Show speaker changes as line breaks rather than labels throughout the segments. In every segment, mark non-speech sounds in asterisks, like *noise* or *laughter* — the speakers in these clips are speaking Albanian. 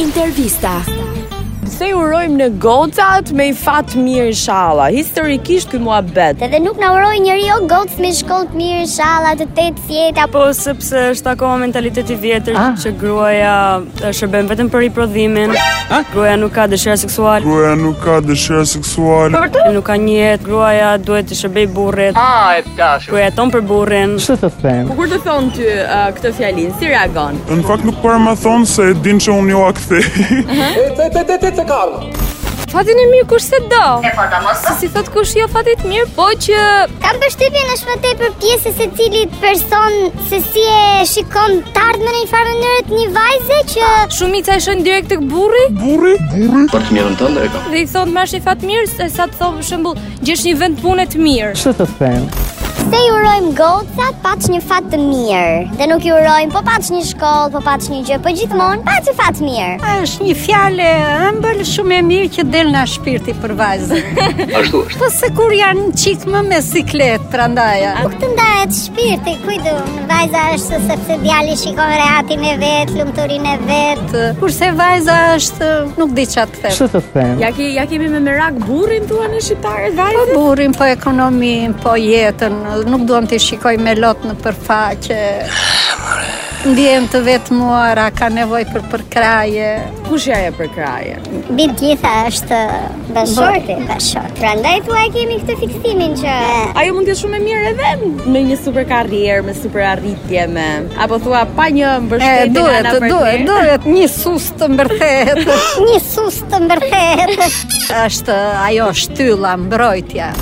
Intervista.
Pse urojmë në gocat me i fat mirë inshallah. Historikisht ky muhabet.
Edhe nuk na uroi njeriu gocë me shkollë të mirë, inshallah të tetë si jetë apo
Po sepse është akoma mentaliteti vjetër që gruaja e, shërben vetëm për riprodhimin. Gruaja nuk ka dëshirë seksuale,
Gruaja nuk ka dëshirë seksuale.
nuk ka një jetë, gruaja duhet të shërbej burrit. Ah, e dashur. Gruaja ton për burrin.
Po kur të thon ty uh, këtë fjalin, si reagon?
Në fakt nuk para më thonë se e din që unë jo a kthej. *laughs*
Fatin e mirë kush se do. E fata mos. Si thot kush jo fatit mirë, po që
Kam përshtypjen është më tepër pjesë e secilit person se si e shikon të ardhmen në një farë mënyrë të një vajze që
shumica e shën direkt tek burri
Burri? Burri?
Për të mirën tënde e kam.
dhe i thon marrësh një fat mirë se sa të thonë për shembull, gjesh një vend pune të mirë.
se i urojmë gocat paç një fat të mirë. Dhe nuk i urojmë po paç një shkollë, po paç një gjë, po gjithmonë paç një fat mirë.
është një fjalë ëmbël shumë e mirë që del nga shpirti për vajzën. *laughs*
Ashtu është.
Po se kur janë qik më me siklet prandaja.
Nuk të ndahet shpirti, kujdu, vajza është sepse djali shikon rehatin e vet, lumturinë e vet.
Kurse vajza është nuk di çfarë të them.
Ja ke ja kemi me merak burrin thua në shqiptarët
Po
vajzë?
burrin, po ekonomin, po jetën, nuk duam të shikoj me lot në përfaqe. Ndjehem të vetmuara, ka nevojë për përkraje.
Kush ja e për kraje?
Mbi të gjitha është bashorti, bashorti. Prandaj thua e kemi këtë fiksimin që
Ajo mund të jetë shumë e mirë edhe me një super karrierë, me super arritje, me apo thua pa një
E
mbështetje
duhet,
nga ana
duhet,
partneri.
duhet një sus të mbërthehet.
*laughs* një sus të mbërthehet.
është ajo shtylla, mbrojtja.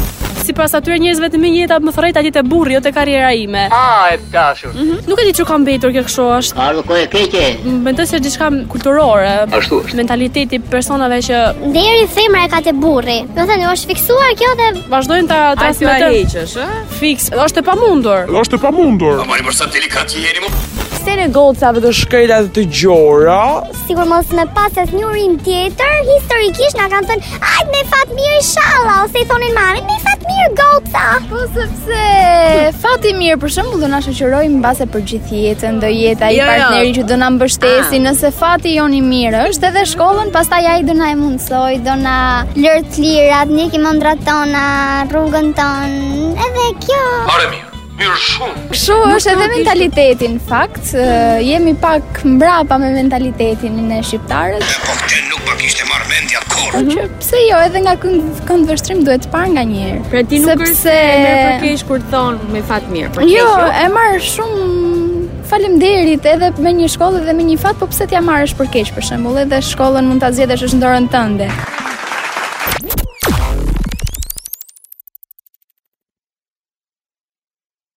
Sipas atyre njerëzve të mi jeta më thërrejt atje te burri, jo te karriera ime.
Ah, e dashur.
Nuk e di çu ka mbetur kjo kështu është.
Ardhë kohë e keqe.
Ah.
Mendoj se është diçka kulturore,
Ashtu është.
mentaliteti personave që
*laughs* Deri femra e ka te burri. Do thënë, është fiksuar kjo dhe
vazhdojnë ta
Ai thua
transmetojnë
heqësh, ë?
fiks. Dhe është e pamundur.
Edhe është e pamundur.
Mari për sa delikat jeni më.
Pse në gocave të shkëlqyta dhe të gjora?
sikur mos me pas as një urim tjetër, historikisht na kanë thënë, "Hajt me fat mirë inshallah" ose i thonin marrin me fat mirë goca.
Po sepse fati mirë për shembull do na shoqëroj mbase për gjithë jetën, do jetë ai
Jo, Ah. jo.
partneri që do na mbështesi, nëse fati jon i mirë është edhe shkollën, pastaj ai do na e mundsoj, do na
Lër të lirat, ndjekim ëndrat tona, rrugën tonë. Edhe kjo
Mare mirë. Mirë shumë.
Kështu është edhe mentaliteti në fakt, ë, jemi pak mbrapa me mentalitetin e shqiptarët,
Po ti nuk pa kishte marrë mendja kur.
që pse jo edhe nga kënd- këndvështrim duhet të parë nga njëherë.
Pra ti nuk
Sepse-
është e merr për keq kur thon me fat mirë, për keq.
Jo, e marr shumë falemderit edhe me një shkollë dhe me një fat, po pse t'ja marrësh për keq për shembull, edhe shkollën mund ta zgjedhësh është në dorën tënde.